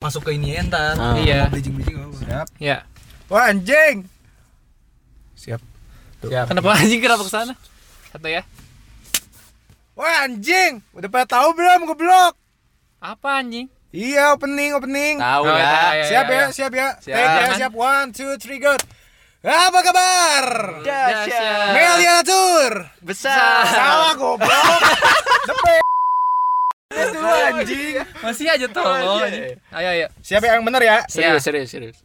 masuk ke ini entar Ah. Iya. Bridging bridging apa? Siap. ya Wah anjing. Siap. Iya. siap kenapa anjing kenapa kesana satu ya Wah anjing. Udah pada tahu belum goblok? apa anjing Iya opening opening. Tahu Oh, ya. iya, siap iya, iya. ya, siap ya. Siap. Take ya, siap. One, two, three, go. Apa kabar? Ya. Dahsyat. Meliana Tour. Besar. Salah goblok. Depe. Ya, Itu anjing. masih aja tolong anjing. ayo ayo Siap ya yang bener ya. Serius, Ya. serius, serius.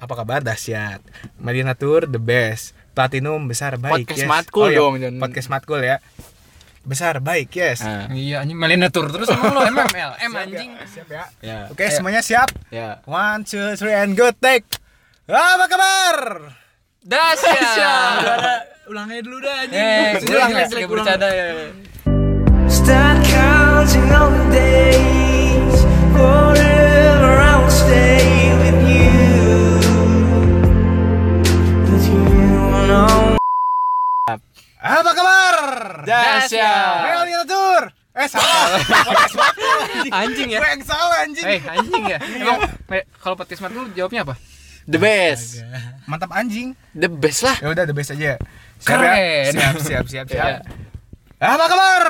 Apa kabar dahsyat? Meliana Tour the best. Platinum besar baik Podcast yes. Matkul iya. dong, jangan- Podcast Matkul ya. Besar baik yes. Ah, iya anjing Melina tur terus emang lo emang MLM Siap ya, anjing Siap ya. ya. Oke, Ayo. semuanya siap. Ya. One, two, three, and go take. Apa kabar? Dasya Ulangnya dulu dah anjing. eh Ulang ya? ulang ya bercanda ya ya. Start counting on the days. Forever I will stay with you. With you alone. Apa kabar? Dahsyat. Mel Tour. Eh, salah. anjing ya Gue yang salah eh anjing. anjing ya emang me- kalau podcast smart lu jawabnya apa The best. Mantap anjing. The best lah. Ya udah the best aja. Siap ya? Keren. Siap, siap, siap, siap. Iya. Apa kabar?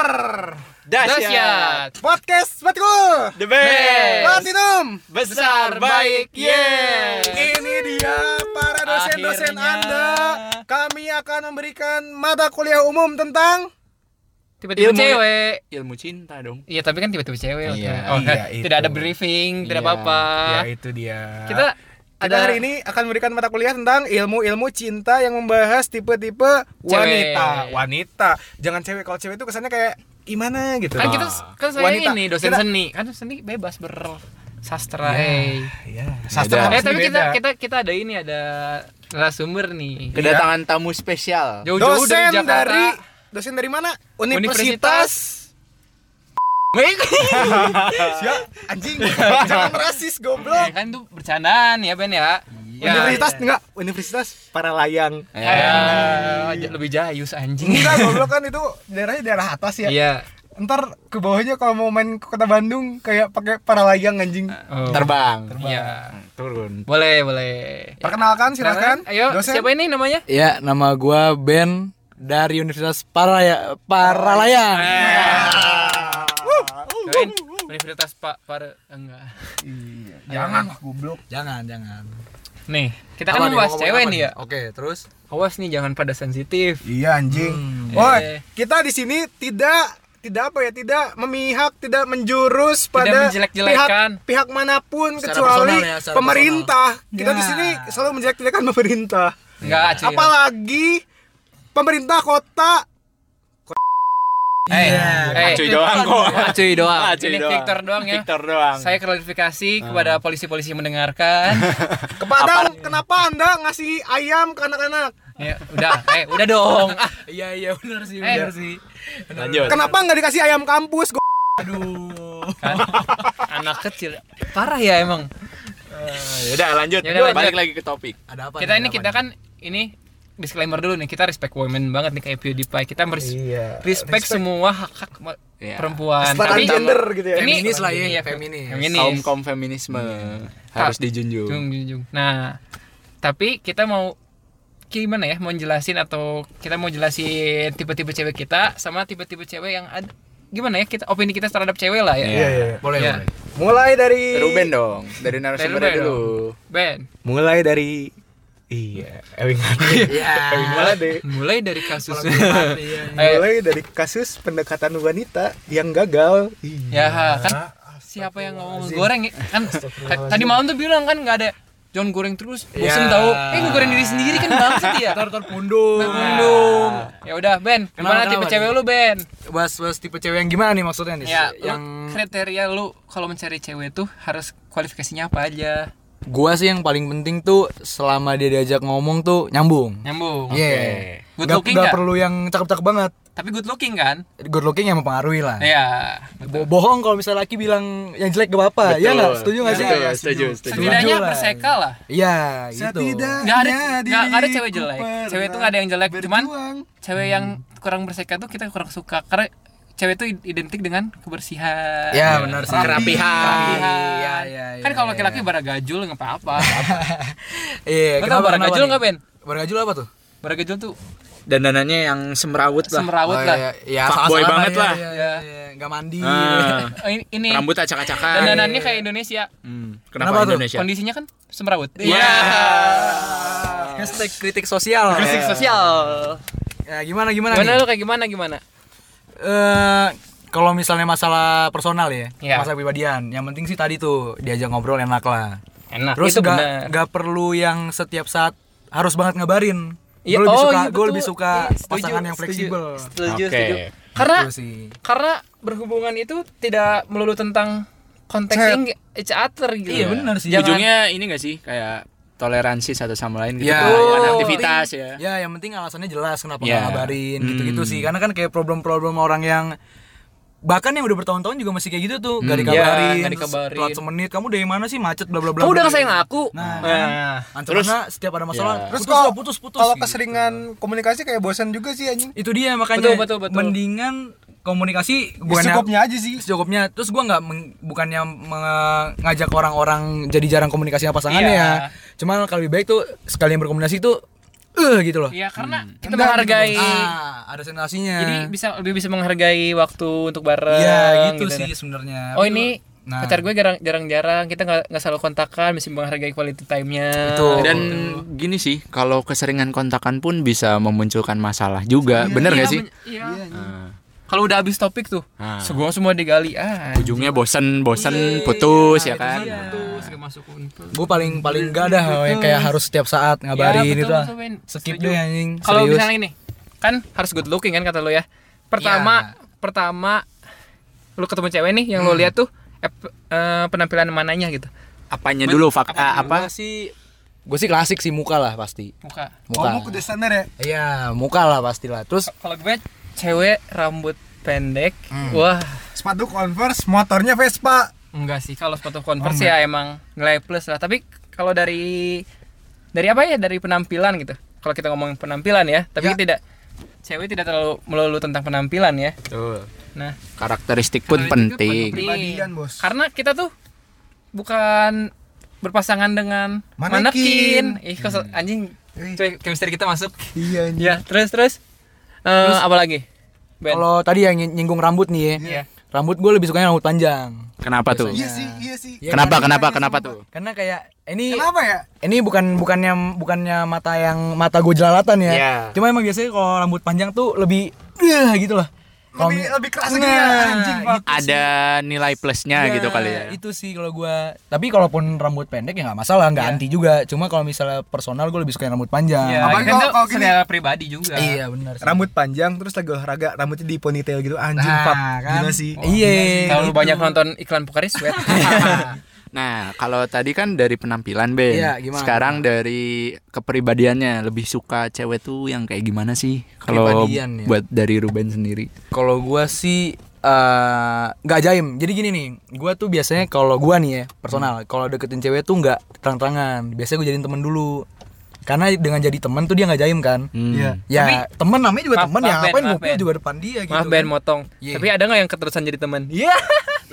Dahsyat Podcast Matkul. The best. Platinum. Besar baik. Yeah. Ini dia para dosen-dosen Akhirnya. Anda. Kami akan memberikan mata kuliah umum tentang tiba-tiba Ilmu- cewek Ilmu cinta dong. Iya tapi kan tiba-tiba cewek Iya. waktu- Oh, Iya, kan. Tidak itu. ada briefing, tidak Iya. apa-apa Ya itu dia. Kita Kita ada hari ini akan memberikan mata kuliah tentang ilmu-ilmu cinta yang membahas tipe-tipe wanita. Cewek. Wanita. Jangan cewek kalau cewek itu kesannya kayak gimana gitu. Kan Nah, kita kan saya wanita. ini dosen Kita- seni Kan seni bebas bersastra eh. Ya, sastra Beda. harus Eh tapi kita, beda. kita kita ada ini ada narasumber nih Kedatangan tamu spesial. Jauh-jauh dosen dari Jakarta dari dosen dari mana? Universitas Universitas. Ah. Siap, anjing. Jangan Eh, rasis goblok. Kan itu bercandaan ya Ben ya Ya. Universitas enggak, Universitas para layang. Ya, j- lebih jayus anjing Enggak goblok kan itu daerahnya daerah atas ya. Iya Ntar ke bawahnya kalau mau main ke kota Bandung kayak pakai para layang anjing. Oh. Terbang. Iya Turun. Boleh boleh Eh, Perkenalkan silakan. Ayo dosen. siapa ini namanya? Ya, nama gua Ben dari Universitas Paraya Paralayang. Kirain Universitas Pak Par eh, enggak. Iya, Jangan lah goblok. Jangan, jangan. Nih, kita Apa kan nih, membahas ngomongin cewek apa nih ya. Oke, terus Awas nih jangan pada sensitif. Iya anjing. Hmm. Woi, Eh. kita di sini tidak tidak apa ya, tidak memihak, tidak menjurus pada pihak menjelek-jelekan. pihak manapun Secara kecuali personal ya, secara pemerintah. Kita Ya. di Iya. sini selalu menjelek-jelekan pemerintah. Enggak, cuy. Apalagi pemerintah kota Eh, Iya. eh, Cuy doang kok. cuy doang. Cuy Ini doang. Victor doang ya. Victor doang. Saya klarifikasi kepada polisi-polisi yang mendengarkan. kepada kenapa Anda ngasih ayam ke anak-anak? ya, udah, eh, udah dong. Ah, Iya, iya benar sih, eh, benar sih. Lanjut. Kenapa nggak dikasih ayam kampus? Go- Aduh. kan anak kecil parah ya emang. Yaudah lanjut. Yaudah, lanjut. Balik lagi ke topik. Ada apa? Kita ini kita kan ini disclaimer dulu nih, kita respect women banget nih kayak PewDiePie. Kita meres- Iya. respect, semua hak-hak ma- Iya. perempuan. Setara gender gitu ya. ini- Feminis lah ya, iya, feminis. feminis. Kaum kaum feminisme harus dijunjung. Jung, jung, jung. Nah, tapi kita mau gimana ya? Mau jelasin atau kita mau jelasin tipe-tipe cewek kita sama tipe-tipe cewek yang ada gimana ya kita opini kita terhadap cewek lah ya. Iya, iya. Boleh, Ya. boleh. Mulai dari Ruben dong, dari narasumbernya Ruben dulu. Ben, Mulai dari iya, Ewing Ewing Mulade. mulai dari kasus Iya. Eh, Mulai dari kasus pendekatan wanita yang gagal. Iya. ya kan siapa yang ngomong goreng ya? kan ta- tadi malam tuh bilang kan nggak ada jangan goreng terus bosen Ya. tahu eh goreng diri sendiri kan bangsat ya Tor pundung. Bandung ya udah Ben Kenapa, gimana tipe kenapa cewek nih? lu Ben Bahas bahas tipe cewek yang gimana nih maksudnya nih? Ya, yang yang kriteria lu kalau mencari cewek tuh harus kualifikasinya apa aja? gua sih yang paling Iya, penting tuh selama dia diajak ngomong tuh nyambung. Nyambung. Iya. Good Nggak- nggak looking nggak? perlu yang cakep-cakep banget. Tapi good looking kan? Good looking yang mempengaruhi lah. Iya. Bo- bohong kalau misalnya laki bilang yang jelek gak apa-apa. Iya enggak? Setuju enggak sih? Betul, setuju, setuju. Setidaknya Setuju lah. berseka lah. Iya, gitu. Nggak ada nggak nggak ada cewek jelek. Cewek tuh nggak ada yang jelek, cuman cewek yang kurang berseka tuh kita kurang suka karena cewek itu identik dengan kebersihan Ya, benar sih. rapi, Kerapihan. kerapihan. Iya, iya, iya, kan kalau iya. laki-laki baragajul nggak apa-apa Iya, Lo tau baragajul nih? nggak Ben Baragajul apa tuh? baragajul tuh Dan dananya yang semrawut lah. Oh, semrawut lah iya, iya, Fuckboy salah-salah banget lah. Iya, iya, iya, Nggak mandi. Iya. Ah, Oh, ini, ini rambut acak-acakan. dandanannya kayak Indonesia Hmm, Kenapa Kenapa, tuh? Indonesia? kondisinya kan semrawut Iya. Hashtag kritik sosial. kritik sosial Iya. Ya, gimana gimana? gimana nih? lu kayak gimana gimana Eh, kalau misalnya masalah personal ya, Iya. masalah pribadian, yang penting sih tadi tuh diajak ngobrol enak lah. enak Terus Nah, itu nggak benar nggak perlu yang setiap saat harus banget ngabarin. Iya, gue lebih oh, suka, iya, gue lebih betul. suka Iya, setuju, pasangan yang setuju. fleksibel. setuju Oke. setuju karena Gitu sih. karena berhubungan itu tidak melulu tentang konteks Chat. yang each other gitu Iya, benar sih. Jangan- Ujungnya ini gak sih kayak toleransi satu sama lain gitu. Ya, Kebanyakan iya. aktivitas ya. Ya, yang penting alasannya jelas kenapa Iya. nggak Ya. ngabarin Hmm. gitu-gitu sih. Karena kan kayak problem-problem orang yang bahkan yang udah bertahun-tahun juga masih kayak gitu tuh, nggak Iya, dikabarin, nggak terus dikabarin. telat semenit, kamu dari mana sih macet bla bla bla. kamu udah bla. ngasih aku Nah, Nah. terus setiap ada Ya. masalah, Terus terus kalau putus putus. kalau gitu. keseringan komunikasi kayak bosan juga sih anjing. itu dia makanya Betul, betul, betul. mendingan komunikasi Ya, bukannya- secukupnya aja sih. secukupnya terus gua nggak meng- bukannya mengajak orang-orang jadi jarang komunikasi sama pasangannya Iya. ya cuman kalau lebih baik tuh sekali yang berkomunikasi tuh eh gitu loh ya karena kita Enak gitu, menghargai ah ada sensasinya jadi bisa lebih bisa menghargai waktu untuk bareng Iya gitu, sih nah. sebenarnya oh Tapi ini nah. pacar gue jarang jarang jarang kita nggak nggak selalu kontakan mesti menghargai quality time-nya Betul. Dan gini sih, kalau keseringan kontakan pun bisa memunculkan masalah juga. Bener Iya, gak sih? men- iya. kalau udah habis topik tuh Ah. semua semua digali ah Ujungnya bosen, bosen, putus ya iya, kan. Iya. putus gak masuk untung gue paling paling gak ada yang kayak harus setiap saat ngabarin Hmm. Ya, Iya, betul, itu ah. betul, Ben. skip Setuju. deh anjing Kalau serius. misalnya ini kan harus good looking kan kata lu ya. Pertama Iya. pertama lu ketemu cewek nih yang lu Hmm. lihat tuh ep- eh, penampilan mananya gitu. Apanya dulu fakta apa? sih gue sih klasik sih muka lah pasti Oh, Muka. muka Kamu udah standar ya? Iya, muka lah pastilah. Terus Kalau gue cewek rambut pendek, Hmm. wah Sepatu Converse, motornya Vespa. enggak sih kalau sepatu Oh, converse ya emang nilai plus lah. Tapi kalau dari dari apa ya dari penampilan gitu. Kalau kita ngomongin penampilan ya, Iya. tapi tidak cewek tidak terlalu melulu tentang penampilan ya. Nah, Karakteristik pun penting. Kepribadian, Bos. Iya. Karena kita tuh bukan berpasangan dengan manekin. Manekin. Ih, kok so- anjing. Eh. Cuy, chemistry kita masuk. Iya anjing. Ya, terus terus. Eh, apa lagi? Ben. kalau tadi yang nying- nyinggung rambut nih ya. Iya. Rambut gue lebih sukanya rambut panjang. Kenapa tuh? Iya sih, iya sih. Iya, Kenapa? Kenapa? Kenapa tuh? Karena kayak ini Kenapa ya? ini bukan bukannya bukannya mata yang mata gue jelalatan ya. Iya. Cuma emang biasanya kalau rambut panjang tuh lebih eh, gitu lah. Kalau mi- Lebih lebih keras Nah, gini ya anjing, Pak. Ada nilai Iya. plusnya gitu kali ya. Itu sih kalau gua Tapi kalaupun rambut pendek ya nggak masalah, nggak anti juga. Cuma kalau misalnya personal gue lebih suka yang rambut panjang. Ya, kan Apalagi kalau- tuh kalau gini. selera pribadi juga. Iya benar. sih. Rambut panjang terus lagi olahraga, rambutnya di ponytail gitu anjing, Nah, Pak. kan? Gila sih. Iya. Kalau gitu. banyak nonton iklan Pocari Sweat. Nah, kalau tadi kan dari penampilan Ben. Iya, gimana? Sekarang dari kepribadiannya lebih suka cewek tuh yang kayak gimana sih? Kalau Kepribadian, ya. buat dari Ruben sendiri. Kalau gua sih eh, nggak jaim. Jadi gini nih, gua tuh biasanya kalau gua nih ya personal, kalau deketin cewek tuh nggak terang-terangan. Biasanya gua jadiin temen dulu. Karena dengan jadi temen tuh dia nggak jaim kan. Iya. Ya temen namanya juga Maaf, temen maaf, ya. Ben, Ngapain maaf, ngopi Ben. juga depan dia gitu. Maaf kan. Ben motong. Iya. Tapi ada nggak yang keterusan jadi teman? Iya.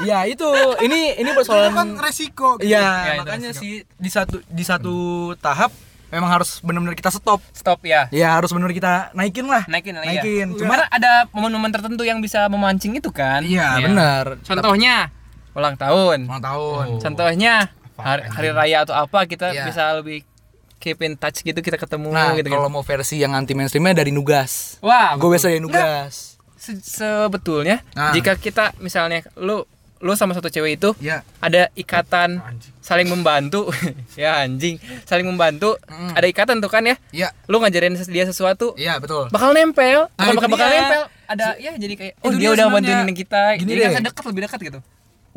Ya itu, ini ini Itu kan persoalan. resiko. gitu. Iya, itu makanya sih di satu di satu tahap memang harus benar-benar kita stop. Stop ya. Ya harus benar-benar kita naikin lah. Naikin lah Naikin. ya. Cuma Cuma ada momen-momen tertentu yang bisa memancing itu kan? iya benar. Contohnya ulang tahun. Ulang tahun. Oh. Contohnya hari, hari raya atau apa kita Iya. bisa lebih keep in touch gitu kita ketemu Nah, gitu. kalau mau versi yang anti mainstreamnya dari nugas. Wah, Gue betul. biasa dari nugas. Se- sebetulnya Nah. jika kita misalnya lu lu sama satu cewek itu Iya. ada ikatan saling membantu ya anjing saling membantu ada ikatan tuh kan ya Hmm. Iya. lu ngajarin ses- dia sesuatu Iya, betul. bakal nempel Nah, bakal, itu bakal dia. nempel ada ya jadi kayak Itu oh dia dia udah sebenarnya. bantuin kita Gini jadi deh. kan dekat lebih dekat gitu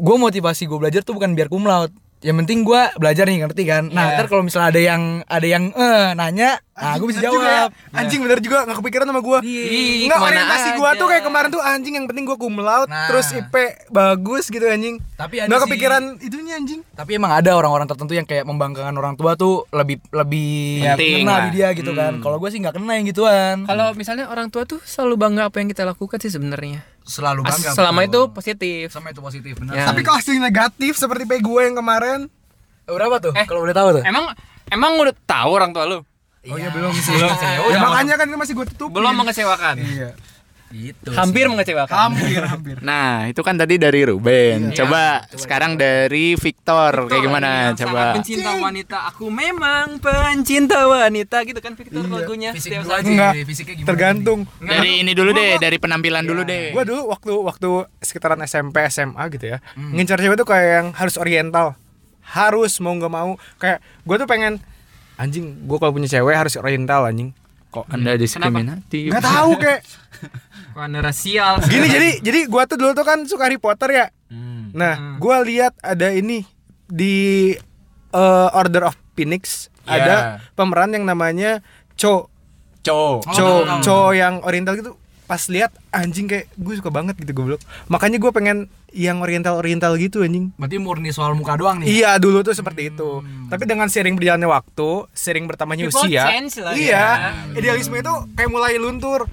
Gue motivasi gue belajar tuh bukan biar cum laude. Yang penting gue belajar nih ngerti kan. Nah, Iya. ntar kalau misalnya ada yang ada yang eh nanya, nah Anjing, gue bisa bener juga jawab. Iya. ya. Anjing bener juga nggak kepikiran sama gua. Iya, Nggak kemana orientasi gua aja. tuh kayak kemarin tuh anjing yang penting gua cum laude, Nah. terus IP bagus gitu anjing. Tapi ada nggak sih- kepikiran itunya anjing. Tapi emang ada orang-orang tertentu yang kayak membanggakan orang tua tuh lebih lebih Penting kena lah. di dia Hmm. gitu kan. Kalau gue sih nggak kena yang gituan. Kalau misalnya orang tua tuh selalu bangga apa yang kita lakukan sih sebenarnya. selalu As- bangga. selama itu betul. positif. selama itu positif benar. Ya. Tapi kok hasilnya negatif seperti pe gue yang kemarin? berapa tuh? Eh. Kalau boleh tahu tuh? Emang emang udah tahu orang tua lu? Oh iya belum sih. Belum sih. Ya, makanya kan ini masih gue tutup. Belum mengecewakan. Iya. Gitu. Hampir mengecewakan. Hampir hampir. Nah, itu kan tadi dari Ruben. Iya. Coba sekarang dari Victor, kayak gimana? iya. Yang Coba. sangat pencinta wanita. Aku memang pencinta wanita gitu kan Victor Iya, lagunya Fisik setiap dulu saat. aja. Enggak. Fisiknya gimana? Tergantung. Dari ini dulu deh, dari penampilan dulu deh. Gue dulu waktu waktu sekitaran SMP SMA gitu ya, ngincar cewek tuh kayak yang harus oriental, harus mau nggak mau. Kayak gue tuh pengen anjing, gue kalau punya cewek harus oriental anjing. Kok Anda diskriminatif? Nggak tahu kayak Warna rasial. gini jadi jadi gue tuh dulu tuh kan suka Harry Potter ya. Hmm. Nah, gue lihat ada ini di eh, Order of Phoenix Ya. ada pemeran yang namanya Cho Cowok. Cho Cho yang oriental gitu pas lihat anjing kayak gue suka banget gitu goblok makanya gue pengen yang oriental oriental gitu anjing Berarti murni soal muka doang Hmm. nih. Iya dulu tuh seperti itu. Tapi dengan sering berjalannya waktu, sering bertambahnya People usia, change lah iya, ya. idealisme itu kayak mulai luntur.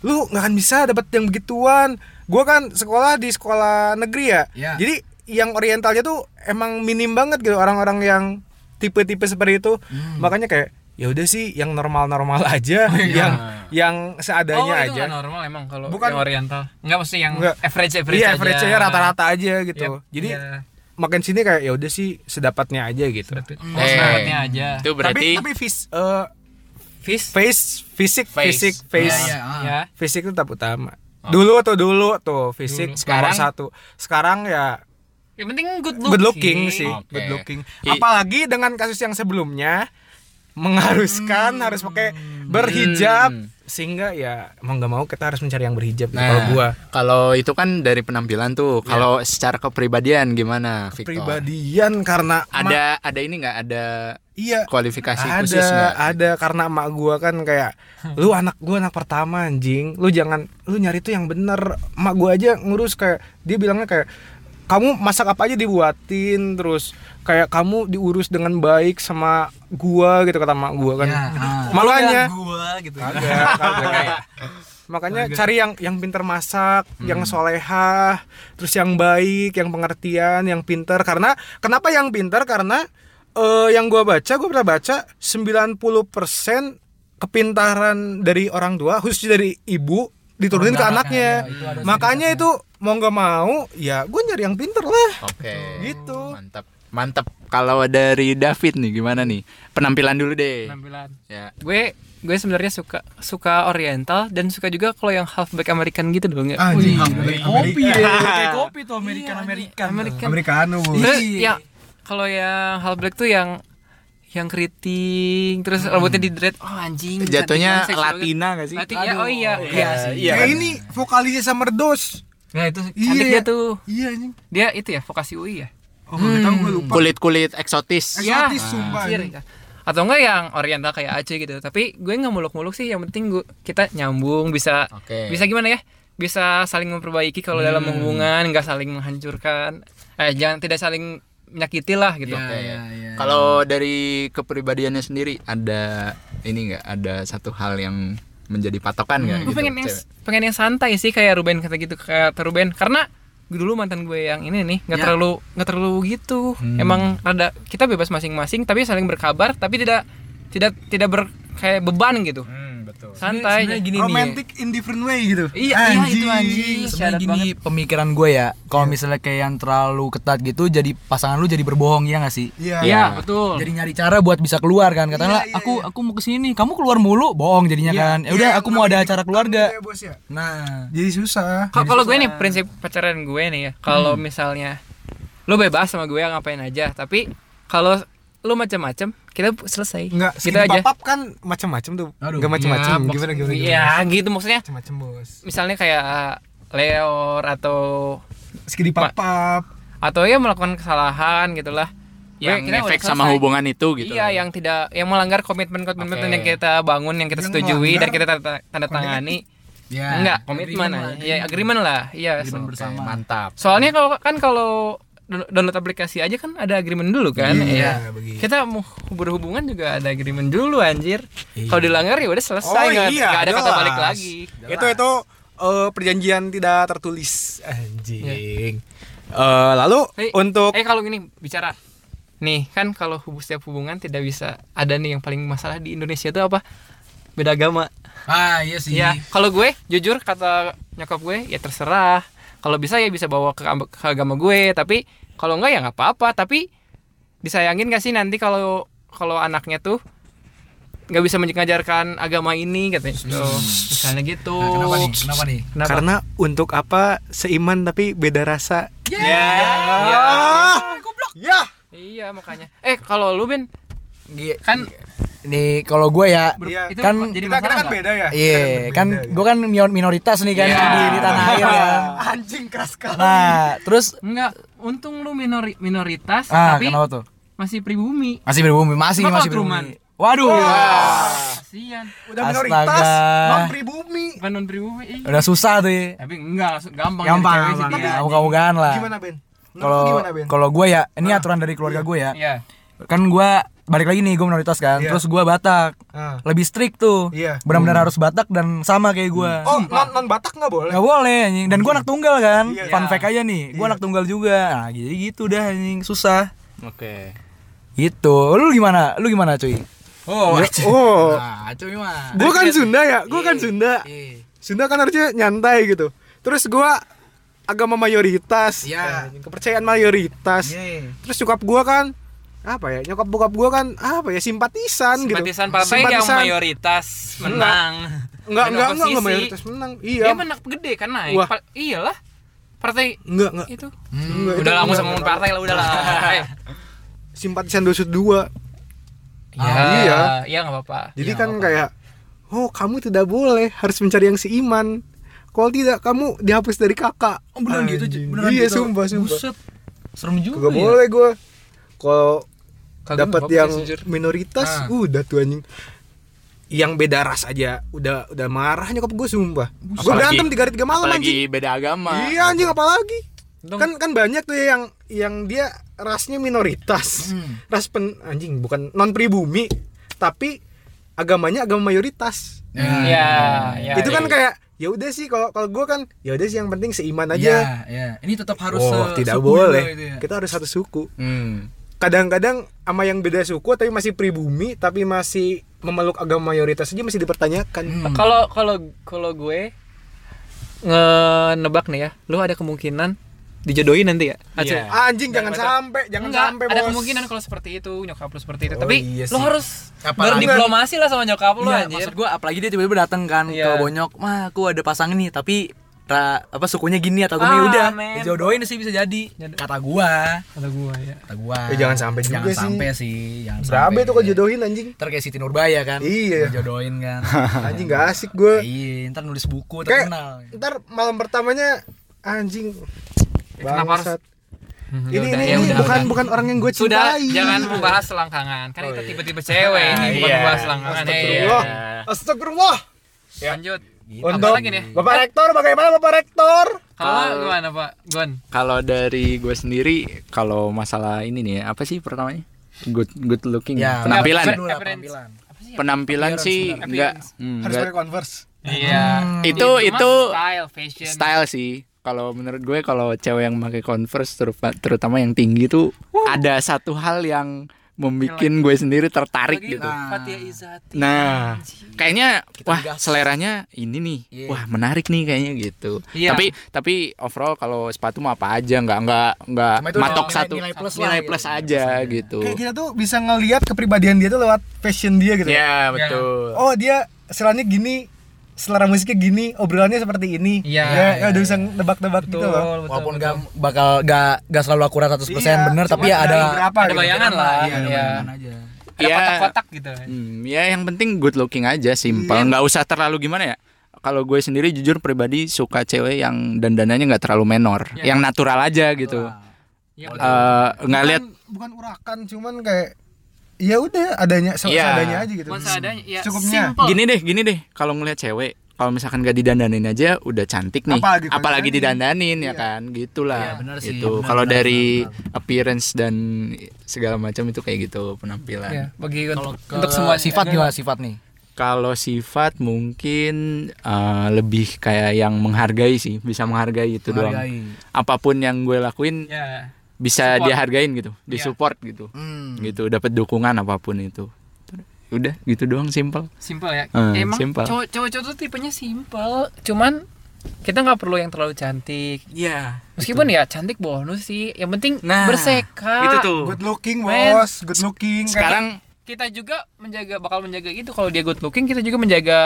Lu nggak akan bisa dapat yang begituan. Gua kan sekolah di sekolah negeri ya. Iya. Jadi yang orientalnya tuh emang minim banget gitu orang-orang yang tipe-tipe seperti itu. Hmm. Makanya kayak ya udah sih yang normal-normal aja, yang yang iya. Oh, seadanya itu aja. nggak normal emang kalau Bukan. yang oriental. Enggak mesti yang Nggak. average average Iya, aja. average-nya rata-rata aja gitu. Yap. Jadi Iya. makin sini kayak ya udah sih sedapatnya aja gitu. Oh, semangatnya aja. Itu berarti tapi tapi fis, eh, Fish. face fisik Face. fisik face Iya, iya. ah. Ya. fisik itu tetap utama dulu tuh dulu tuh fisik Dulu. sekarang Oh. Sekarang? satu sekarang ya Yang penting good looking. good looking sih Oke. good looking I- apalagi dengan kasus yang sebelumnya mengharuskan harus pakai berhijab Hmm. sehingga ya mau nggak mau kita harus mencari yang berhijab gitu Nah, kalau gua Iya. kalau itu kan dari penampilan tuh. Kalau secara kepribadian gimana, Victor? pribadian karena emak- Ada ada ini nggak ada iya kualifikasi ada khusus nggak? Hmm. ada karena emak gua kan kayak lu anak gua anak pertama anjing lu jangan lu nyari tuh yang bener emak gua aja ngurus kayak dia bilangnya kayak kamu masak apa aja dibuatin terus kayak kamu diurus dengan baik sama gua gitu kata emak gua kan Ya. makanya Ya. Gua gitu. Kagak, kagak. makanya cari yang yang pinter masak yang solehah terus yang baik yang pengertian yang pinter karena kenapa yang pinter karena eh, yang gua baca gua pernah baca 90% kepintaran dari orang tua khususnya dari ibu diturunin ke anaknya makanya itu mau nggak mau ya gue nyari yang pinter lah Oke. Gitu. Mantap. Mantap. Kalau dari David nih gimana nih? Penampilan dulu deh. Penampilan. Ya. Gue gue sebenarnya suka suka oriental dan suka juga kalau yang halfback American gitu dong ya. anjing Kopi ya. Iya, kan? Kayak kopi tuh American American. Iya, American. Americano Terus ya kalau yang halfback tuh yang yang keriting terus rambutnya di dread. Oh anjing. Jatuhnya cantik banget, seksi Latina banget. nggak sih? Latin, ya, oh iya. Iya sih. Iya. Kayak ini vokalisnya Samerdos Nah, itu Cantik Iya. dia tuh. iya anjing Dia itu ya vokasi UI ya. oh Hmm. nggak tahu gue lupa Kulit-kulit eksotis. Ya. Eksotis, sumpah, Anjir, anjing. ya. Atau enggak yang oriental kayak Aceh gitu. Tapi gue nggak muluk-muluk sih, yang penting gua, kita nyambung bisa Oke. bisa gimana ya? Bisa saling memperbaiki kalau dalam Hmm. hubungan, nggak saling menghancurkan. Eh jangan tidak saling menyakiti lah gitu. Iya, Kalau dari kepribadiannya sendiri ada ini nggak? Ada satu hal yang menjadi patokan nggak? Gue gitu, pengen yang cewek? pengen yang santai sih kayak Ruben kata gitu kata Ruben karena dulu mantan gue yang ini nih Ya. nggak terlalu nggak terlalu gitu Hmm. emang rada kita bebas masing-masing tapi saling berkabar tapi tidak tidak tidak ber kayak beban gitu santai Sebenarnya gini nih. ya. romantic in different way gitu Iya, iya itu anjing. Sebenarnya Syarat gini banget. Iya. pemikiran gue ya, kalau misalnya kayak yang terlalu ketat gitu, jadi pasangan lu jadi berbohong ya nggak sih? iya Iya, Iya. betul. Iya, Jadi nyari cara buat bisa keluar kan, katanya aku aku mau kesini, nih, kamu keluar mulu, bohong jadinya kan. Ya iya, udah, aku mau ada acara keluarga. Iya, bos ya Nah, jadi susah Kalau kalau gue nih prinsip pacaran gue nih ya, kalau misalnya lu bebas sama gue ya ngapain aja, tapi kalau lu macam-macam, kita selesai. Enggak, gitu skin aja. pop-up kan macam-macam tuh. Enggak macam-macam. Ya, gimana gimana? gimana? Iya, gitu maksudnya. Macam-macam, Bos. Misalnya kayak uh, leor atau Skin pop-up. atau ya melakukan kesalahan gitulah. yang Gue- kita ya, udah efek sama selesai. hubungan itu gitu. Iya, yang tidak yang melanggar komitmen-komitmen Oke. yang kita bangun, yang kita Yang setujui dan melanggar kita tanda, tanda tangani. Enggak, komitmen aja. Ya, agreement lah. Iya, so- Oke, mantap. Soalnya kalau kan kalau down- download aplikasi aja kan ada agreement dulu kan. Iya. begitu. Kita mau berhubungan juga ada agreement dulu anjir. Kalau dilanggar ya udah selesai Iya. Oh, nggak iya, nggak ada kata jelas. balik lagi. Itu itu eh, perjanjian tidak tertulis Iya. anjing Eh, lalu Eh, untuk eh kalau gini bicara nih kan kalau hubung setiap hubungan tidak bisa ada nih yang paling masalah di Indonesia itu apa beda agama Ah, iya sih. ya kalau gue jujur kata nyokap gue ya terserah kalau bisa ya bisa bawa ke, am- ke agama gue tapi kalau enggak ya nggak apa-apa tapi disayangin gak sih nanti kalau kalau anaknya tuh nggak bisa mengajarkan agama ini katanya Tuh, misalnya gitu Nah, kenapa nih? Kenapa nih? Kenapa? karena untuk apa seiman tapi beda rasa Ya. Iya. ya iya makanya eh kalau lu Ben Gi- kan Nih kalau gue ya Iya. itu kan jadi masalah kita, kita kan nggak? beda ya Iya, kan Kita gue kan minor- minoritas nih kan Iya. di, di tanah air ya. anjing keras sekali Nah, terus Enggak, untung lu minori- minoritas ah tapi kenapa tuh? masih pribumi. Masih berbumi, masih Kenapa masih Truman? berbumi. Waduh. Kasihan. udah minoritas Astaga. non pribumi Bukan non pribumi. ih. Udah susah tuh. Ya. Tapi enggak langsung gampang jadi Gampang, cewek sih gampang. dia. ya, Kamu kamu kan lah. gimana Ben Menurut lu Kalau gimana Ben kalau gue ya, ini aturan dari keluarga gue ya. Iya. Kan gue balik lagi nih gue minoritas kan. Iya. Terus gue Batak. Ah. Lebih strict tuh. Iya. Benar-benar harus Batak dan sama kayak gue. oh non non Batak nggak boleh Gak boleh anjing. Dan gue anak tunggal kan. Iya. Fun fact aja nih, gue anak tunggal juga. Nah, jadi gitu dah anjing, susah. Oke. Gitu. Lu gimana? Lu gimana, cuy? Oh, oh Nah, cuy mah. gue kan Sunda ya gue kan Sunda Sunda kan harusnya nyantai gitu terus gue agama mayoritas Iya. eh, kepercayaan mayoritas Iya. terus nyokap gue kan apa ya nyokap bokap gue kan apa ya simpatisan, gitu Simpatisan partai yang Simpatisan. mayoritas menang. enggak Dan enggak enggak enggak oposisi. mayoritas menang iya Dia menang gede kan naik. Wah. Pa- iyalah. Partai enggak enggak itu. Enggak, itu Hmm, udah lah, enggak, usah ngomongin enggak. partai lah, udah lah. Eh, simpatisan 202 Iya, iya. iya enggak apa-apa. Ya, Jadi Iya, kan nggak apa-apa. kayak oh kamu tidak boleh harus mencari yang seiman. Kalau tidak kamu dihapus dari kakak. Oh, beneran gitu, Anjing. beneran Iya, gitu. sumpah, sumpah. Buset. ya? Serem juga. Gak boleh gue. Kalau Kagak dapat apa-apa, yang jujur. minoritas, Ah. udah tuh anjing. Yang beda ras aja udah udah marah nyokap gue sumpah. Gue Apalagi- berantem tiga hari tiga Oh, malam anjing. Apalagi beda agama. Iya anjing apalagi. Dong. Kan kan banyak tuh ya yang yang dia rasnya minoritas. Hmm. Ras pen anjing bukan non pribumi tapi agamanya agama mayoritas. Iya, iya. Hmm. itu kan iya. kayak ya udah sih kalau kalau gue kan ya udah sih yang penting seiman Ya, aja. Iya, iya. Ini tetap harus oh, se- tidak sepuyul boleh. gitu ya. Kita harus satu suku. Hmm. Kadang-kadang sama yang beda suku tapi masih pribumi tapi masih memeluk agama mayoritas aja masih dipertanyakan. Kalau kalau kalau gue nge-nebak nih ya, lu ada kemungkinan dijodohin nanti ya? Acil? Iya. Ah, Anjing jangan sampai, jangan Enggak, sampai ada bos. kemungkinan kalau seperti itu nyokap lu seperti itu. Oh, Tapi iya lu sih. harus Apalagi- berdiplomasi lah sama nyokap lu Iya, anjir. maksud gue apalagi dia tiba-tiba datang kan Iya. ke Bonyok, mah aku ada pasangan nih tapi ra- apa sukunya gini atau gini Ah, udah men. dijodohin sih bisa jadi kata gua Kata gua ya. kata gua Eh, jangan sampai juga jangan sih. sampai sih jangan Berabe sampai. tuh ya. kalau jodohin anjing. ntar kayak Siti Nurbaya kan Iya. dijodohin kan Anjing gak asik gue. iya ntar nulis buku Kayak terkenal ntar malam pertamanya anjing. kenapa harus- Bangsat. Ini udah, ini, ya ini udah, bukan bukan orang yang gue Sudah cintai. Oh, iya. Ah, jangan membahas selangkangan. Kan itu tiba-tiba cewek ini bukan Iya. membahas selangkangan. Astagfirullah. Ya. Iya. Astagfirullah. Lanjut. Apa Untuk lagi nih? Bapak Rektor bagaimana Bapak Rektor? Kalau gimana Pak Gon? Kalau dari gue sendiri, kalau masalah ini nih, ya, apa sih pertamanya? Good good looking. Ya, penampilan. Appearance. Dulu lah, penampilan sih enggak hmm, Harus enggak. pakai Converse. Iya. itu Cuma itu style fashion. style sih kalau menurut gue kalau cewek yang pakai converse terupa- terutama yang tinggi tuh ada satu hal yang membuat gue sendiri tertarik gitu nah, Ah. Fatia Izati. nah kayaknya wah gas. seleranya ini nih Iya. wah menarik nih kayaknya gitu Iya. tapi tapi overall kalau sepatu mah apa aja nggak nggak nggak Cuma itu matok nilai- satu nilai plus lah gitu. aja gitu Kayak kita tuh bisa ngelihat kepribadian dia tuh lewat fashion dia gitu. ya betul Oh, dia selanya gini, selera musiknya gini, obrolannya seperti ini. Iya, Ya, iya, udah bisa nebak-nebak gitu loh. walaupun gak bakal gak gak selalu akurat 100% Iya, bener cuma tapi ya ada dari berapa ada gitu. bayangan lah. iya, ada Iya. bayangan aja Ada Iya. kotak-kotak gitu. Hmm, ya yang penting good looking aja, simple, Iya. nggak usah terlalu gimana ya. Kalau gue sendiri jujur pribadi suka cewek yang dandanannya nggak terlalu menor, Iya. yang natural aja gitu. Iya, Eh, Kan Nggak lihat Bukan- bukan urakan, cuman kayak ya udah adanya se- Iya. seadanya aja gitu. Masa adanya ya Cukupnya. simple. gini deh, gini deh. Kalau ngelihat cewek, kalau misalkan gak didandanin aja udah cantik nih. Apalagi Apalagi, kalau didandanin ya kan, gitulah. Iya, bener sih, gitu. bener, Kalau bener, dari appearance dan segala macam itu kayak gitu penampilan. Ya, bagi kalau untuk, ke untuk semua sifat gimana sifat nih Kalau sifat mungkin eh, lebih kayak yang menghargai sih, bisa menghargai itu doang. Menghargai. Apapun yang gue lakuin Ya. bisa Support. dihargain gitu, Iya. disupport gitu. Hmm. Gitu, dapat dukungan apapun itu. Udah, gitu doang simple. Simple ya. Hmm, Emang simple. cowok- cowok-cowok tuh tipenya simple. Cuman kita nggak perlu yang terlalu cantik. Iya. Meskipun ya cantik bonus sih. Yang penting Nah, berseka. itu tuh. Good looking Men. bos, good looking. Kayak- Sekarang Kita juga menjaga bakal menjaga itu kalau dia good looking, kita juga menjaga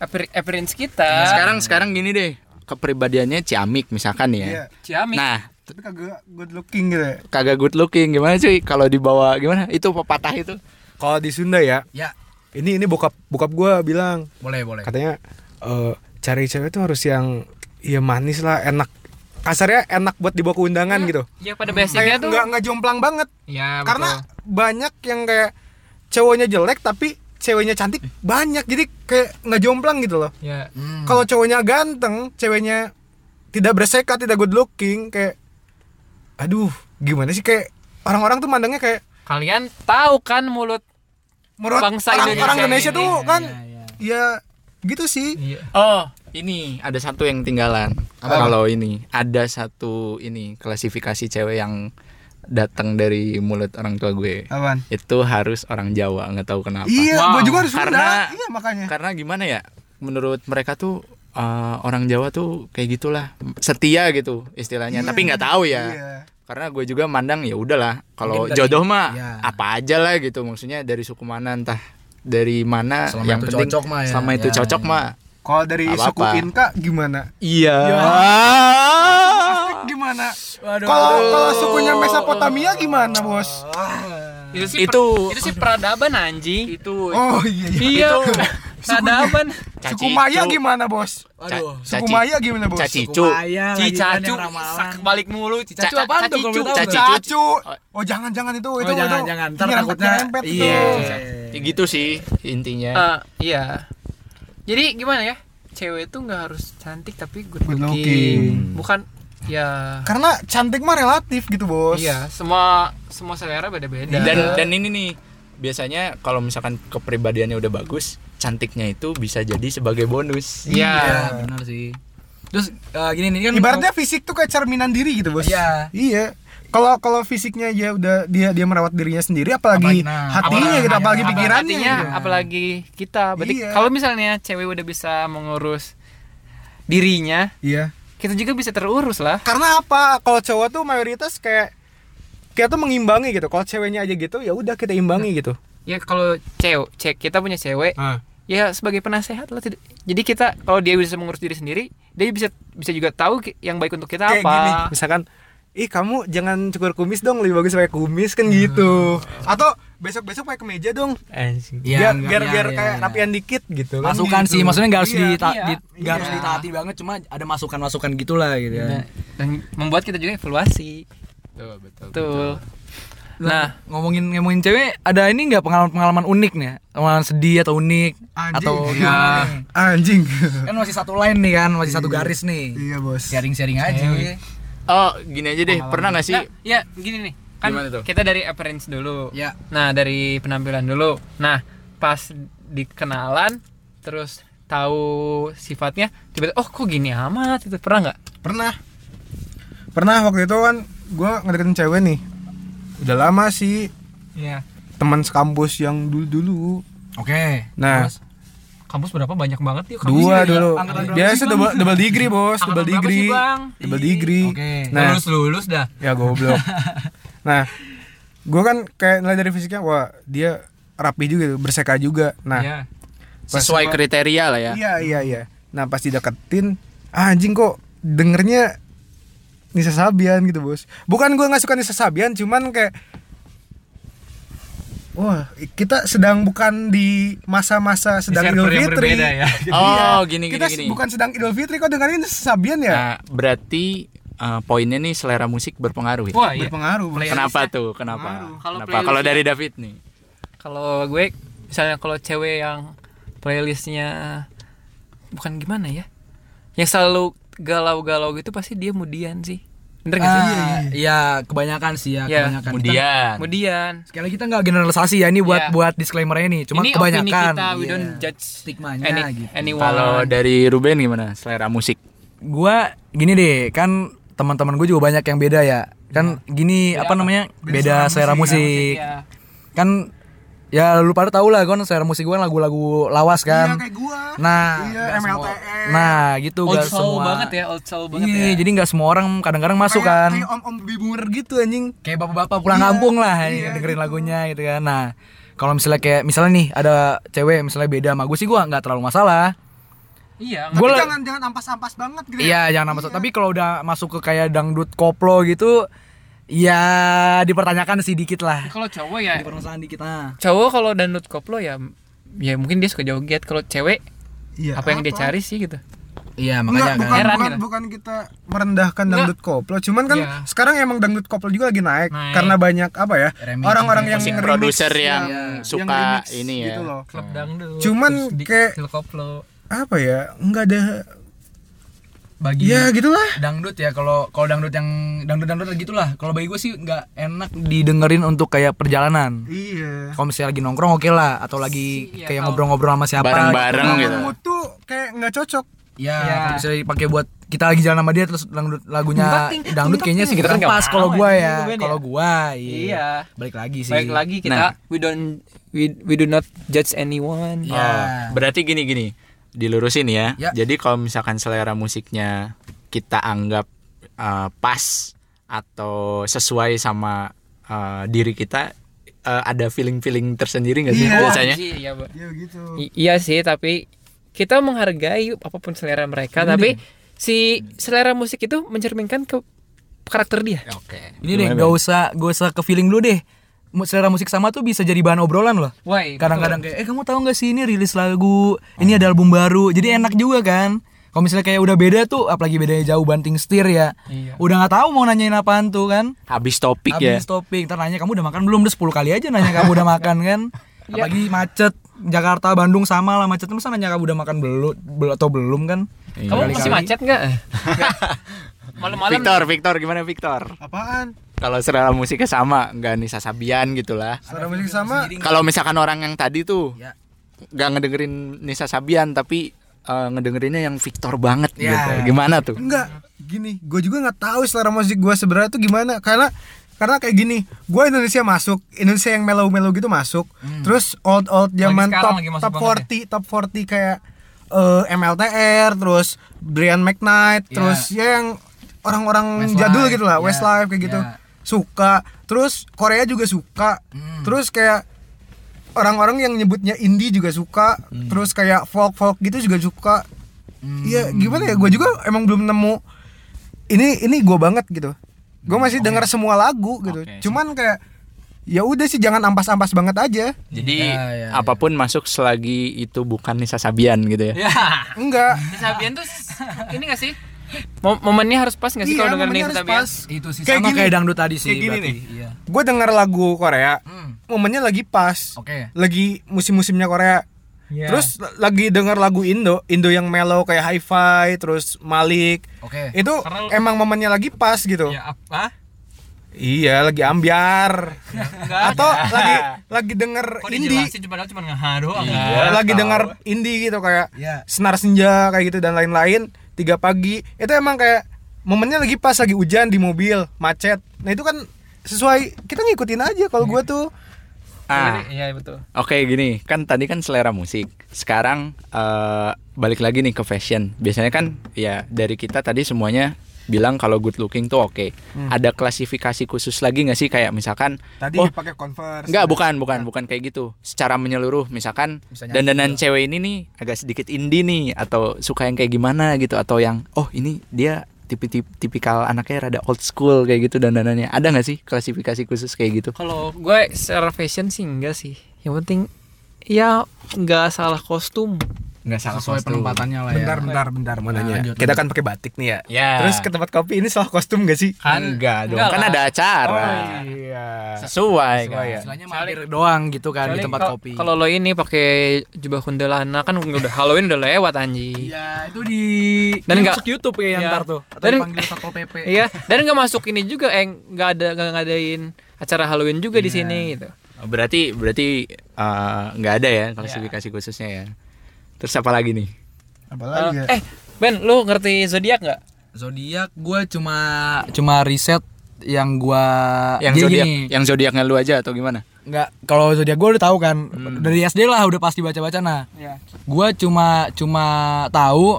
appear- appearance kita. Nah, sekarang Kan sekarang gini deh, kepribadiannya ciamik misalkan Iya, ya. Ciamik. Nah, tapi kagak good looking gitu. ya. kagak good looking gimana cuy kalau dibawa gimana itu pepatah itu Kalau di Sunda ya, Ya, ini ini bokap bokap gua bilang boleh boleh. katanya eh, cari cewek tuh harus yang ya manis lah, enak. Kasarnya enak buat dibawa ke undangan gitu. Ya pada basicnya Kayak tuh. nggak nggak jomplang banget. Ya, Karena betul. banyak yang kayak cowoknya jelek tapi ceweknya cantik Eh. banyak jadi kayak nggak jomplang gitu loh. ya. Hmm. Kalau cowoknya ganteng, ceweknya tidak berseka, tidak good looking, kayak aduh, gimana sih kayak orang-orang tuh mandangnya kayak Kalian tahu kan mulut menurut Bangsa orang, Indonesia orang Indonesia ini, tuh ya, kan ya, gitu sih. Iya. oh ini ada satu yang tinggalan kalau ini ada satu ini klasifikasi cewek yang datang dari mulut orang tua gue Apaan? itu harus orang Jawa nggak tahu kenapa Iya, Wow. gua juga harus Karena- Sunda. Iya makanya. karena gimana ya menurut mereka tuh eh, orang Jawa tuh kayak gitulah setia gitu istilahnya tapi nggak tahu ya Iya. karena gue juga mandang ya udahlah kalau Mungkin dari- jodoh mah Iya. apa aja lah gitu maksudnya dari suku mana entah dari mana Selama yang itu penting cocok mah ya. sama itu Ya, cocok ya. mah Kalau dari Nggak suku apa-apa. Inka gimana? iya Aztek gimana? Kalau kalau sukunya Mesopotamia gimana, Bos? Itu sih Nah. Itu- per- itu sih peradaban anjing. itu Oh iya. Iya. Peradaban. Caci Suku Maya Cu. gimana, Bos? Aduh. Ca- Suku caci- Maya gimana, Bos? caci Suku cu Maya lagi kan Cicacu yang ramalan. sak balik mulu Cacu apaan tuh kalau boleh tahu? Caci. Cacu. Oh, jangan jangan itu itu jangan, itu. jangan. Ntar Nyerempet- takutnya- nyerempet gitu. itu. Iya. Ya gitu sih intinya Ah, iya. Jadi gimana ya? Cewek itu nggak harus cantik tapi good Good looking. looking. Bukan ya Karena cantik mah relatif gitu, Bos. iya, semua semua selera beda-beda. dan dan ini nih biasanya kalau misalkan kepribadiannya udah bagus cantiknya itu bisa jadi sebagai bonus Iya. Ya, benar sih. Terus eh, gini nih kan Ibaratnya fisik tuh kayak cerminan diri gitu, Bos. Iya. Iya. Kalau kalau fisiknya ya udah dia dia merawat dirinya sendiri Apalagi, apalagi nah, hatinya apalagi- gitu, apalagi Apa- pikirannya. artinya, gitu. apalagi kita. Berarti Iya. kalau misalnya cewek udah bisa mengurus dirinya, Iya. kita juga bisa terurus lah. Karena apa? Kalau cowok tuh mayoritas kayak kita tuh mengimbangi gitu. Kalau ceweknya aja gitu, ya udah kita imbangi gitu. Ya kalau cewek, cek kita punya cewek, Ah. ya sebagai penasehat lah tidak- jadi kita kalau dia bisa mengurus diri sendiri dia bisa bisa juga tahu ki- yang baik untuk kita Kayak apa gini, misalkan Ih kamu jangan cukur kumis dong lebih bagus pakai kumis kan gitu atau besok besok pakai kemeja dong Iya, biar enggak, biar iya, biar iya, kayak iya. rapian dikit gitu kan masukan gitu. sih, maksudnya nggak harus Iya. dita- iya, di- nggak harus ditaati banget, cuma ada masukan-masukan gitulah gitu ya. Nah, dan membuat kita juga evaluasi betul nah ngomongin ngomongin cewek, ada ini nggak pengalaman-pengalaman unik nih? ya? Pengalaman sedih atau unik Anjing. atau Iya. gimana nih? anjing Kan masih satu line nih kan, masih satu garis nih. iya bos Sharing-sharing aja. oh gini aja deh pernah nggak sih nah, ya gini nih kan Gimana tuh? kita dari appearance dulu Ya. nah dari penampilan dulu nah pas dikenalan terus tahu sifatnya tiba-tiba oh kok gini amat itu pernah nggak pernah pernah waktu itu kan gue ngedeketin cewek nih udah lama sih Iya teman sekampus yang dulu dulu Oke. nah Terus? kampus berapa banyak banget yuk kampus dua sih, dulu angkatan berapa biasa sih, Bang? double, double degree bos Angkatan double berapa sih, degree Bang? double degree Oke. nah lulus dah ya goblok nah gue kan kayak nilai dari fisiknya wah dia rapi juga tuh, berseka juga nah Iya. pas sesuai gua- kriteria lah ya Iya iya iya. Nah pas dideketin, ah, anjing kok dengernya Nisa Sabian gitu bos. Bukan gue nggak suka Nisa Sabian, cuman kayak Wah, kita sedang bukan di masa-masa sedang server Idul yang Fitri. berbeda ya. Oh, Iya. gini, gini, Kita gini. bukan sedang Idul Fitri kok dengerin Nisa Sabian ya? Nah, berarti eh, poinnya nih selera musik berpengaruh. ya? wah iya Berpengaruh. Bos. Kenapa tuh? Kenapa? Kalau Kenapa? playlist- Kalau dari David nih. kalau gue misalnya kalau cewek yang playlistnya bukan gimana ya yang selalu galau-galau gitu pasti dia mudian sih Bener nggak sih? Ah, Iya, kebanyakan sih ya, Iya. kebanyakan. Kemudian Kemudian Sekali lagi kita nggak generalisasi ya ini buat Iya. buat disclaimer ini, cuma ini opini kebanyakan. kita, we Iya. don't judge Stigmanya any, gitu. anyone. Kalau dari Ruben gimana selera musik? Gua gini deh, kan teman-teman gue juga banyak yang beda ya. Kan gini apa namanya? Beda, selera musik. ya. Kan ya lu pada tau lah kan selera musik gue lagu-lagu lawas kan. gua. Nah, Iya, nggak semua- MLTR. Nah, gitu old nggak soul semua. banget ya, old soul banget Iya, ya. jadi nggak semua orang kadang-kadang masuk kan. om-om bibunger gitu anjing. kayak bapak-bapak pulang kampung lah ya, dengerin lagunya gitu kan nah kalau misalnya kayak misalnya nih ada cewek misalnya beda sama gue sih gue nggak terlalu masalah Iya, nggak- gue jangan ampas-ampas banget gitu. iya jangan masuk tapi kalau udah masuk ke kayak dangdut koplo gitu ya dipertanyakan sih dikit lah kalau cowok ya permasalahan dikit nah cowok kalau download koplo ya ya mungkin dia suka joget kalau cewek Iya, apa yang dia cari sih gitu iya makanya Enggak, bukan, kan Heran bukan, gitu. bukan kita merendahkan dangdut koplo, cuman kan Iya. sekarang emang dangdut koplo juga lagi naik, Naik. karena banyak apa ya Remix. orang-orang yang Musik nge-remix, Iya. produser yang suka remix ini ya. gitu loh. klub dangdut Cuman terus di- kayak- klub koplo Apa ya? Enggak ada bagi Iya. ya gitulah. dangdut ya kalau kalau dangdut yang dangdut dangdut gitulah kalau bagi gue sih nggak enak didengerin untuk kayak perjalanan Iya. kalau misalnya lagi nongkrong oke lah atau lagi kayak Iya, kalau- ngobrol-ngobrol sama siapa Bareng-bareng gitu. Mood tuh kayak nggak cocok. Ya, Ya. kalau misalnya dipakai buat kita lagi jalan sama dia terus dangdut lagunya Tuntating, dangdut tuntating. kayaknya sih Kita kita kan nggak pas mau kalau gua ya, ya. Ruben ya. Kalau gua iya. Iya. Balik lagi sih. baik lagi kita we don't we, we do not judge anyone Iya. Oh, berarti gini-gini, dilurusin ya. Ya. Jadi kalau misalkan selera musiknya kita anggap eh, pas atau sesuai sama eh, diri kita, eh, ada feeling-feeling tersendiri nggak sih biasanya? Iya, iya, Pak. Ya gitu. I- iya sih tapi kita menghargai apapun selera mereka tapi si selera musik itu mencerminkan ke karakter dia Oke. Ini ya? deh, gak usah gak usah ke feeling dulu deh. Mu- Selera musik sama tuh bisa jadi bahan obrolan loh. Why? Kadang-kadang kayak, eh kamu tahu nggak sih ini rilis lagu, ini ada album baru, jadi enak juga kan. Kalau misalnya kayak udah beda tuh, apalagi bedanya jauh banting setir ya. Iya. Udah nggak tahu mau nanyain apaan tuh kan. Habis topik Habis ya. topik, ntar nanya kamu udah makan belum? Udah 10 kali aja nanya kamu udah makan kan. Apalagi macet, Jakarta, Bandung sama lah macet. Masa nanya kamu udah makan belum bel- atau belum kan? Iya. kamu masih macet nggak malam-malam Victor, Victor gimana Victor? Apaan? Kalau selera musiknya sama, nggak Nisa Sabian gitulah. Selera musik sama Kalau misalkan orang yang tadi tuh Ya. nggak ngedengerin Nisa Sabian tapi eh, ngedengerinnya yang Victor banget Ya. gitu. Gimana tuh? enggak gini gue juga nggak tahu selera musik gue sebenarnya tuh gimana karena karena kayak gini gue Indonesia masuk Indonesia yang mellow mellow gitu masuk terus old old zaman sekarang top Hmm. lagi masuk top banget ya? 40 top 40 kayak eh, MLTR terus Brian McKnight Iya. terus ya yang orang-orang Westlife, jadul gitu lah ya, Westlife kayak gitu Iya. ya. suka terus Korea juga suka Hmm. terus kayak orang-orang yang nyebutnya indie juga suka Hmm. terus kayak folk folk gitu juga suka Iya gimana ya gue juga emang belum nemu ini ini gue banget gitu gue masih dengar semua lagu gitu cuman kayak ya udah sih jangan ampas-ampas banget aja Jadi Ya, ya, apapun masuk selagi itu bukan Nisa Sabian gitu ya. enggak Sabian tuh ini gak sih Mom- Iya, momennya harus pas gak sih Iya, kalau dengerin Nisa Sabian Itu sih sama Kayak gini. kayak dangdut tadi sih Kayak gini ya? berarti. nih. Iya. Hmm. gue dengar lagu Korea momennya lagi pas Oke. Iya. lagi musim-musimnya Korea terus l- lagi dengar lagu Indo Indo yang mellow kayak hi-fi terus Malik Oke. itu Karena- emang momennya lagi pas gitu ya apa iya lagi ambiar atau lagi lagi denger indie Iya, cuma cuma ngeha doang lagi dengar indie gitu kayak Iya. senar senja kayak gitu dan lain-lain tiga pagi itu emang kayak momennya lagi pas lagi hujan di mobil macet nah itu kan sesuai kita ngikutin aja kalau gua tuh Ah, iya betul oke gini, kan tadi kan selera musik. Sekarang eh, balik lagi nih ke fashion. Biasanya kan ya dari kita tadi semuanya bilang kalau good looking tuh oke. Hmm. Ada klasifikasi khusus lagi nggak sih kayak misalkan tadi oh, pakai converse Enggak, bukan, bukan, bukan kayak gitu. Secara menyeluruh, misalkan dandanan cewek ini nih agak sedikit indie nih atau suka yang kayak gimana gitu atau yang oh ini dia tipi-tip tipikal anaknya rada old school kayak gitu dandanannya. Ada nggak sih klasifikasi khusus kayak gitu? kalau gue secara fashion sih enggak sih yang penting ya nggak salah kostum nggak salah sesuai kostum. penempatannya lah ya. Bentar, bentar, bentar Iya. mau nanya. lanjut, Kita kan pakai batik nih ya. Ya. Terus ke tempat kopi ini salah kostum gak sih? kan enggak dong enggak kan lah. ada acara Oh, iya. sesuai kan ya. Istilahnya Soalnya- mampir doang gitu kan di Soalnya tempat kalau- kopi. Kalau lo ini pakai jubah kundelana kan udah Halloween udah lewat anjing. Iya, itu di Dan di nggak- masuk YouTube kayaknya Iya. ntar tuh. Atau Dan- dipanggil Satpol PP. Iya, dan nggak masuk ini juga eh nggak ada nggak ngadain acara Halloween juga di sini gitu. berarti berarti eh, nggak ada ya klasifikasi khususnya ya terus apa lagi nih apalagi ya. eh, Ben, lu ngerti zodiak nggak? Zodiak gue cuma cuma riset yang gua yang Jadi zodiak gini, yang zodiaknya lu aja atau gimana nggak kalau zodiak gue udah tahu kan Hmm. dari SD lah udah pasti baca baca nah gue cuma cuma tahu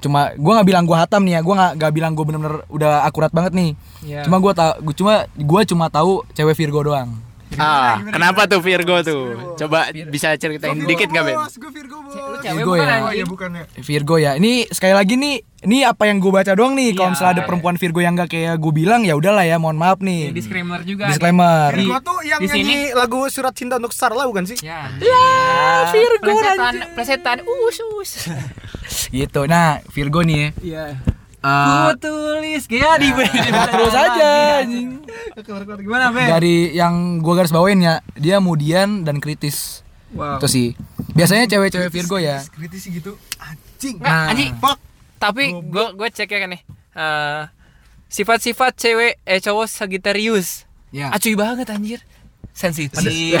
cuma gue nggak bilang gue hatam nih ya gue nggak nggak bilang gue bener-bener udah akurat banget nih Iya. cuma gue tahu gua- cuma gue cuma tahu cewek Virgo doang ah kenapa tuh Virgo tuh coba bisa ceritain dikit nggak Ben Gue Virgo Lu bos. cewek Virgo bukan ya. anjing? bukannya. Virgo ya ini sekali lagi nih ini apa yang gue baca doang nih kalau Iya. misalnya ada perempuan Virgo yang nggak kayak gue bilang ya udahlah ya mohon maaf nih Disclaimer juga. disclaimer Virgo tuh yang Di sini- nyanyi lagu surat cinta untuk Sarla bukan sih? Ya. Ya, Virgo plesetan, plesetan, us us. gitu nah Virgo nih ya Iya. Eh, tulis ya di terus aja anjing. Gimana, Ben? dari yang gua garis bawain ya dia kemudian dan kritis Wow. itu sih biasanya cewek-cewek Virgo ya Kritis gitu. Anjing. Nggak, anjing. Fuck. Tapi gue gue cek ya kan nih. Eh, sifat-sifat cewek eh cowok Sagittarius. ya Acuy banget anjir. Sensitif.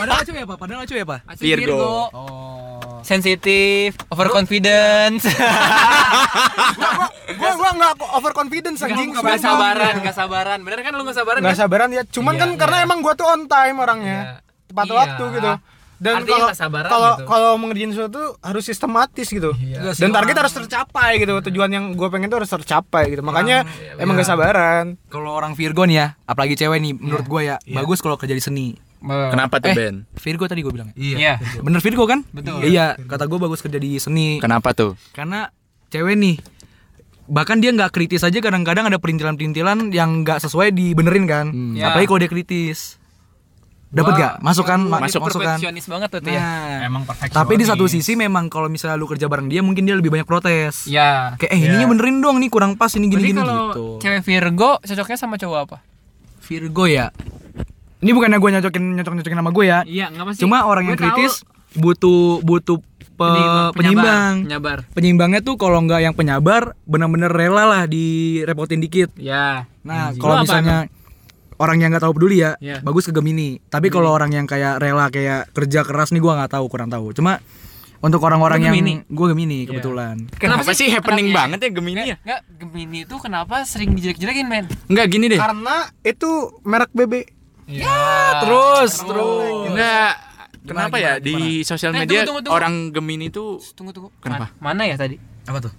padahal acuy apa padahal acuy apa Acuy Virgo. Virgo. oh Sensitif, overconfident. Gua gua enggak overconfidence anjing. Gak sabaran, gak sabaran. Bener kan lu gak sabaran? Enggak kan? sabaran ya. Cuman kan karena emang gua tuh on time orangnya. Iya. Tepat Iya. waktu gitu. Dan Artinya kalau nggak sabaran kalau gitu. Iya. kalau mengerjain sesuatu harus sistematis gitu. Dan target harus tercapai gitu. Tujuan yang gua pengen tuh harus tercapai gitu. Makanya Iya, emang gak sabaran. kalau orang Virgo nih ya apalagi cewek nih menurut gua ya bagus kalau kerja di seni kenapa tuh Ben Virgo tadi gua bilang ya? Iya. bener Virgo kan betul iya kata gua bagus kerja di seni kenapa tuh karena cewek nih bahkan dia nggak kritis aja kadang-kadang ada perintilan-perintilan yang nggak sesuai dibenerin kan Ya. apalagi kalau dia kritis dapat gak masuk kan Ma- Masuk masuk kan perfeksionis banget tuh tuh ya. Nah, Emang perfeksionis. tapi di satu sisi memang kalau misalnya lu kerja bareng dia mungkin dia lebih banyak protes Iya. kayak eh ininya benerin dong nih kurang pas ini Jadi gini gini kalau gitu cewek Virgo cocoknya sama cowok apa? Virgo ya ini bukannya gue nyocokin nyocok nyocokin nama gue ya Iya, enggak pasti. cuma orang yang kritis butuh butuh pe- penyimbang Penyabar. penyimbangnya tuh kalau nggak yang penyabar benar-benar rela lah direpotin dikit Ya. nah Lu kalau apa misalnya orang yang nggak tahu peduli ya Iya. bagus ke Gemini tapi kalau orang yang kayak rela kayak kerja keras nih gua nggak tahu kurang tahu cuma untuk orang-orang Lu yang Gemini? Iya. gue Gemini kebetulan kenapa, sih happening Kenapa banget ya Gemini ya Enggak, Gemini itu kenapa sering dijelek-jelekin, men? nggak gini deh Karena itu merek BB. Ya, Iya, terus nggak kenapa ya di sosial Eh, media tunggu, tunggu, tunggu. orang Gemini tuh Tunggu, tunggu. Kenapa? Ma- Mana ya tadi? apa tuh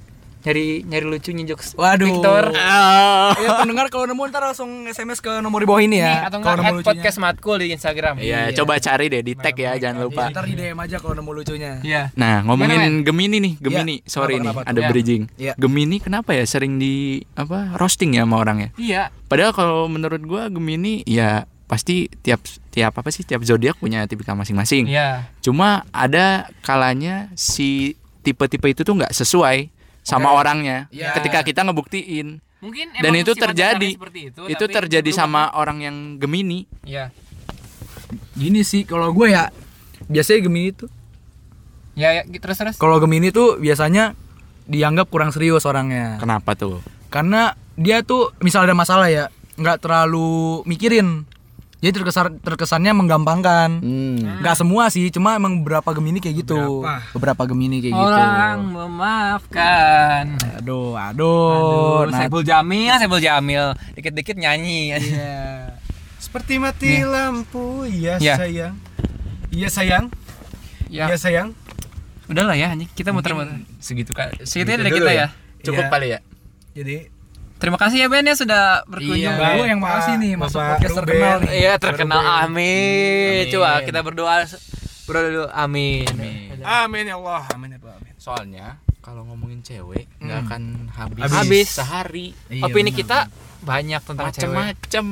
Nyari nyari lucunya jokes. Waduh. Victor. Ah. ya pendengar kalau nemu ntar langsung SMS ke nomor di bawah ini Nih, ya kalau atau enggak nemu add lucunya podcast matkul di Instagram. Iya, coba cari deh di tag ya, jangan lupa. Iya, ntar di DM aja kalau nemu lucunya Iya. Nah, Gimana, ngomongin Gemini nih, Gemini. Iya. Kenapa, Sorry nih, kenapa ada tuh? bridging. Iya. Gemini kenapa ya sering di apa roasting ya sama orang ya? Iya. Padahal kalau menurut gua Gemini ya pasti tiap tiap apa sih tiap zodiak punya tipikal masing-masing. Iya. Cuma ada kalanya si tipe-tipe itu tuh nggak sesuai sama orangnya ketika kita ngebuktiin. Mungkin Dan emang itu sifat terjadi. dasarnya seperti itu, Itu tapi terjadi lu- sama orang yang Gemini. Iya. gini sih kalau gue ya biasanya Gemini tuh Ya, ya, terus terus. kalau Gemini tuh biasanya dianggap kurang serius orangnya Kenapa tuh? karena dia tuh misal ada masalah ya nggak terlalu mikirin jadi terkesan terkesannya menggampangkan Hmm. nggak semua sih cuma emang beberapa Gemini kayak gitu beberapa, Gemini gitu? kayak Orang memaafkan. gitu aduh aduh, Oh, Aduh, nah, Saiful Jamil, Saiful Jamil. Dikit-dikit nyanyi. Seperti mati lampu, ya Iya. sayang. Iya sayang, Ya, iya sayang. udahlah ya anjing. Kita muter-muter. Segitu kan. Segitu Gitu dari dulu kita ya. ya. Cukup Iya. kali ya. Jadi Terima kasih ya Ben ya sudah berkunjung. Iya, Gua yang makasih nih, masuk podcast terkenal nih. Iya, terkenal. Amin. Coba kita berdoa berdoa dulu. Amin. Amin ya Allah. Amin ya Allah. Soalnya kalau ngomongin cewek nggak akan habis, Habis. Iya, sehari Opini kita banyak tentang cewek. Iya, macem-macem.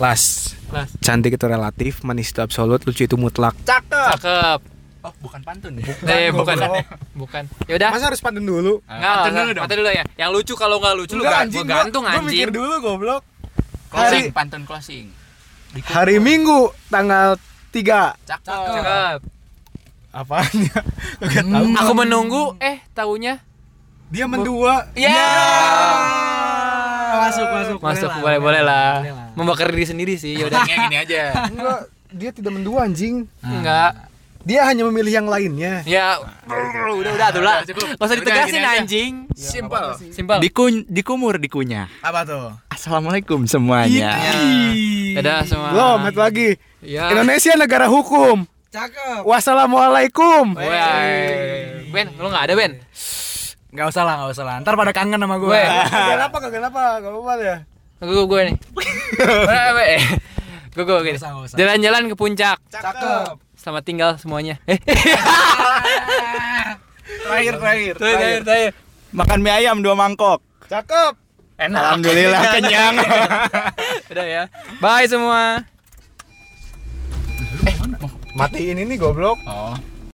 Las. Las. Cantik itu relatif, manis itu absolut, lucu itu mutlak. Nah, Cakep. Oh, bukan pantun ya? Eh, bukan. goblok. Bukan. Yaudah. Masa harus pantun dulu? Nggak, Pantun nggak, dulu dong. pantun dulu ya. Yang lucu kalau nggak lucu lu ga- gua gantung gua anjing. mikir dulu goblok. Closing, Hari pantun closing. Dikit. hari Minggu tanggal 3 Cakep. Cakep. apanya? Gak tahu. Hmm. Aku menunggu eh taunya Dia mendua. ya Masuk, masuk. masuk lah, boleh boleh lah. boleh lah. Membakar diri sendiri sih ya yaudah. Udah gini aja. Enggak, dia tidak mendua anjing. Enggak. Dia hanya memilih yang lainnya. Ya udah udah tuh lah. Enggak usah Udah, ditegasin gini aja. anjing. Simple. Simpel. Dikun dikumur dikunyah. Apa tuh? Assalamualaikum semuanya. Ya. Dadah semua. Belum, satu lagi. Ya. Indonesia negara hukum. Cakep. Wassalamualaikum. Woi. Ben, lu nggak ada Ben? Gak usah lah, gak usah lah. Ntar pada kangen sama gue. Weh. Kagak apa, kagak apa, enggak apa-apa ya. Gue gue nih. Eh, eh, eh. Gue gue gini. Nggak usah, nggak usah. Jalan-jalan ke puncak. Cakep. Selamat tinggal semuanya. Eh, Terakhir, terakhir. terakhir terakhir. Makan mie ayam dua mangkok. Cakep. Enak. Alhamdulillah kenyang. Udah ya. Bye semua. Matiin ini goblok. oh.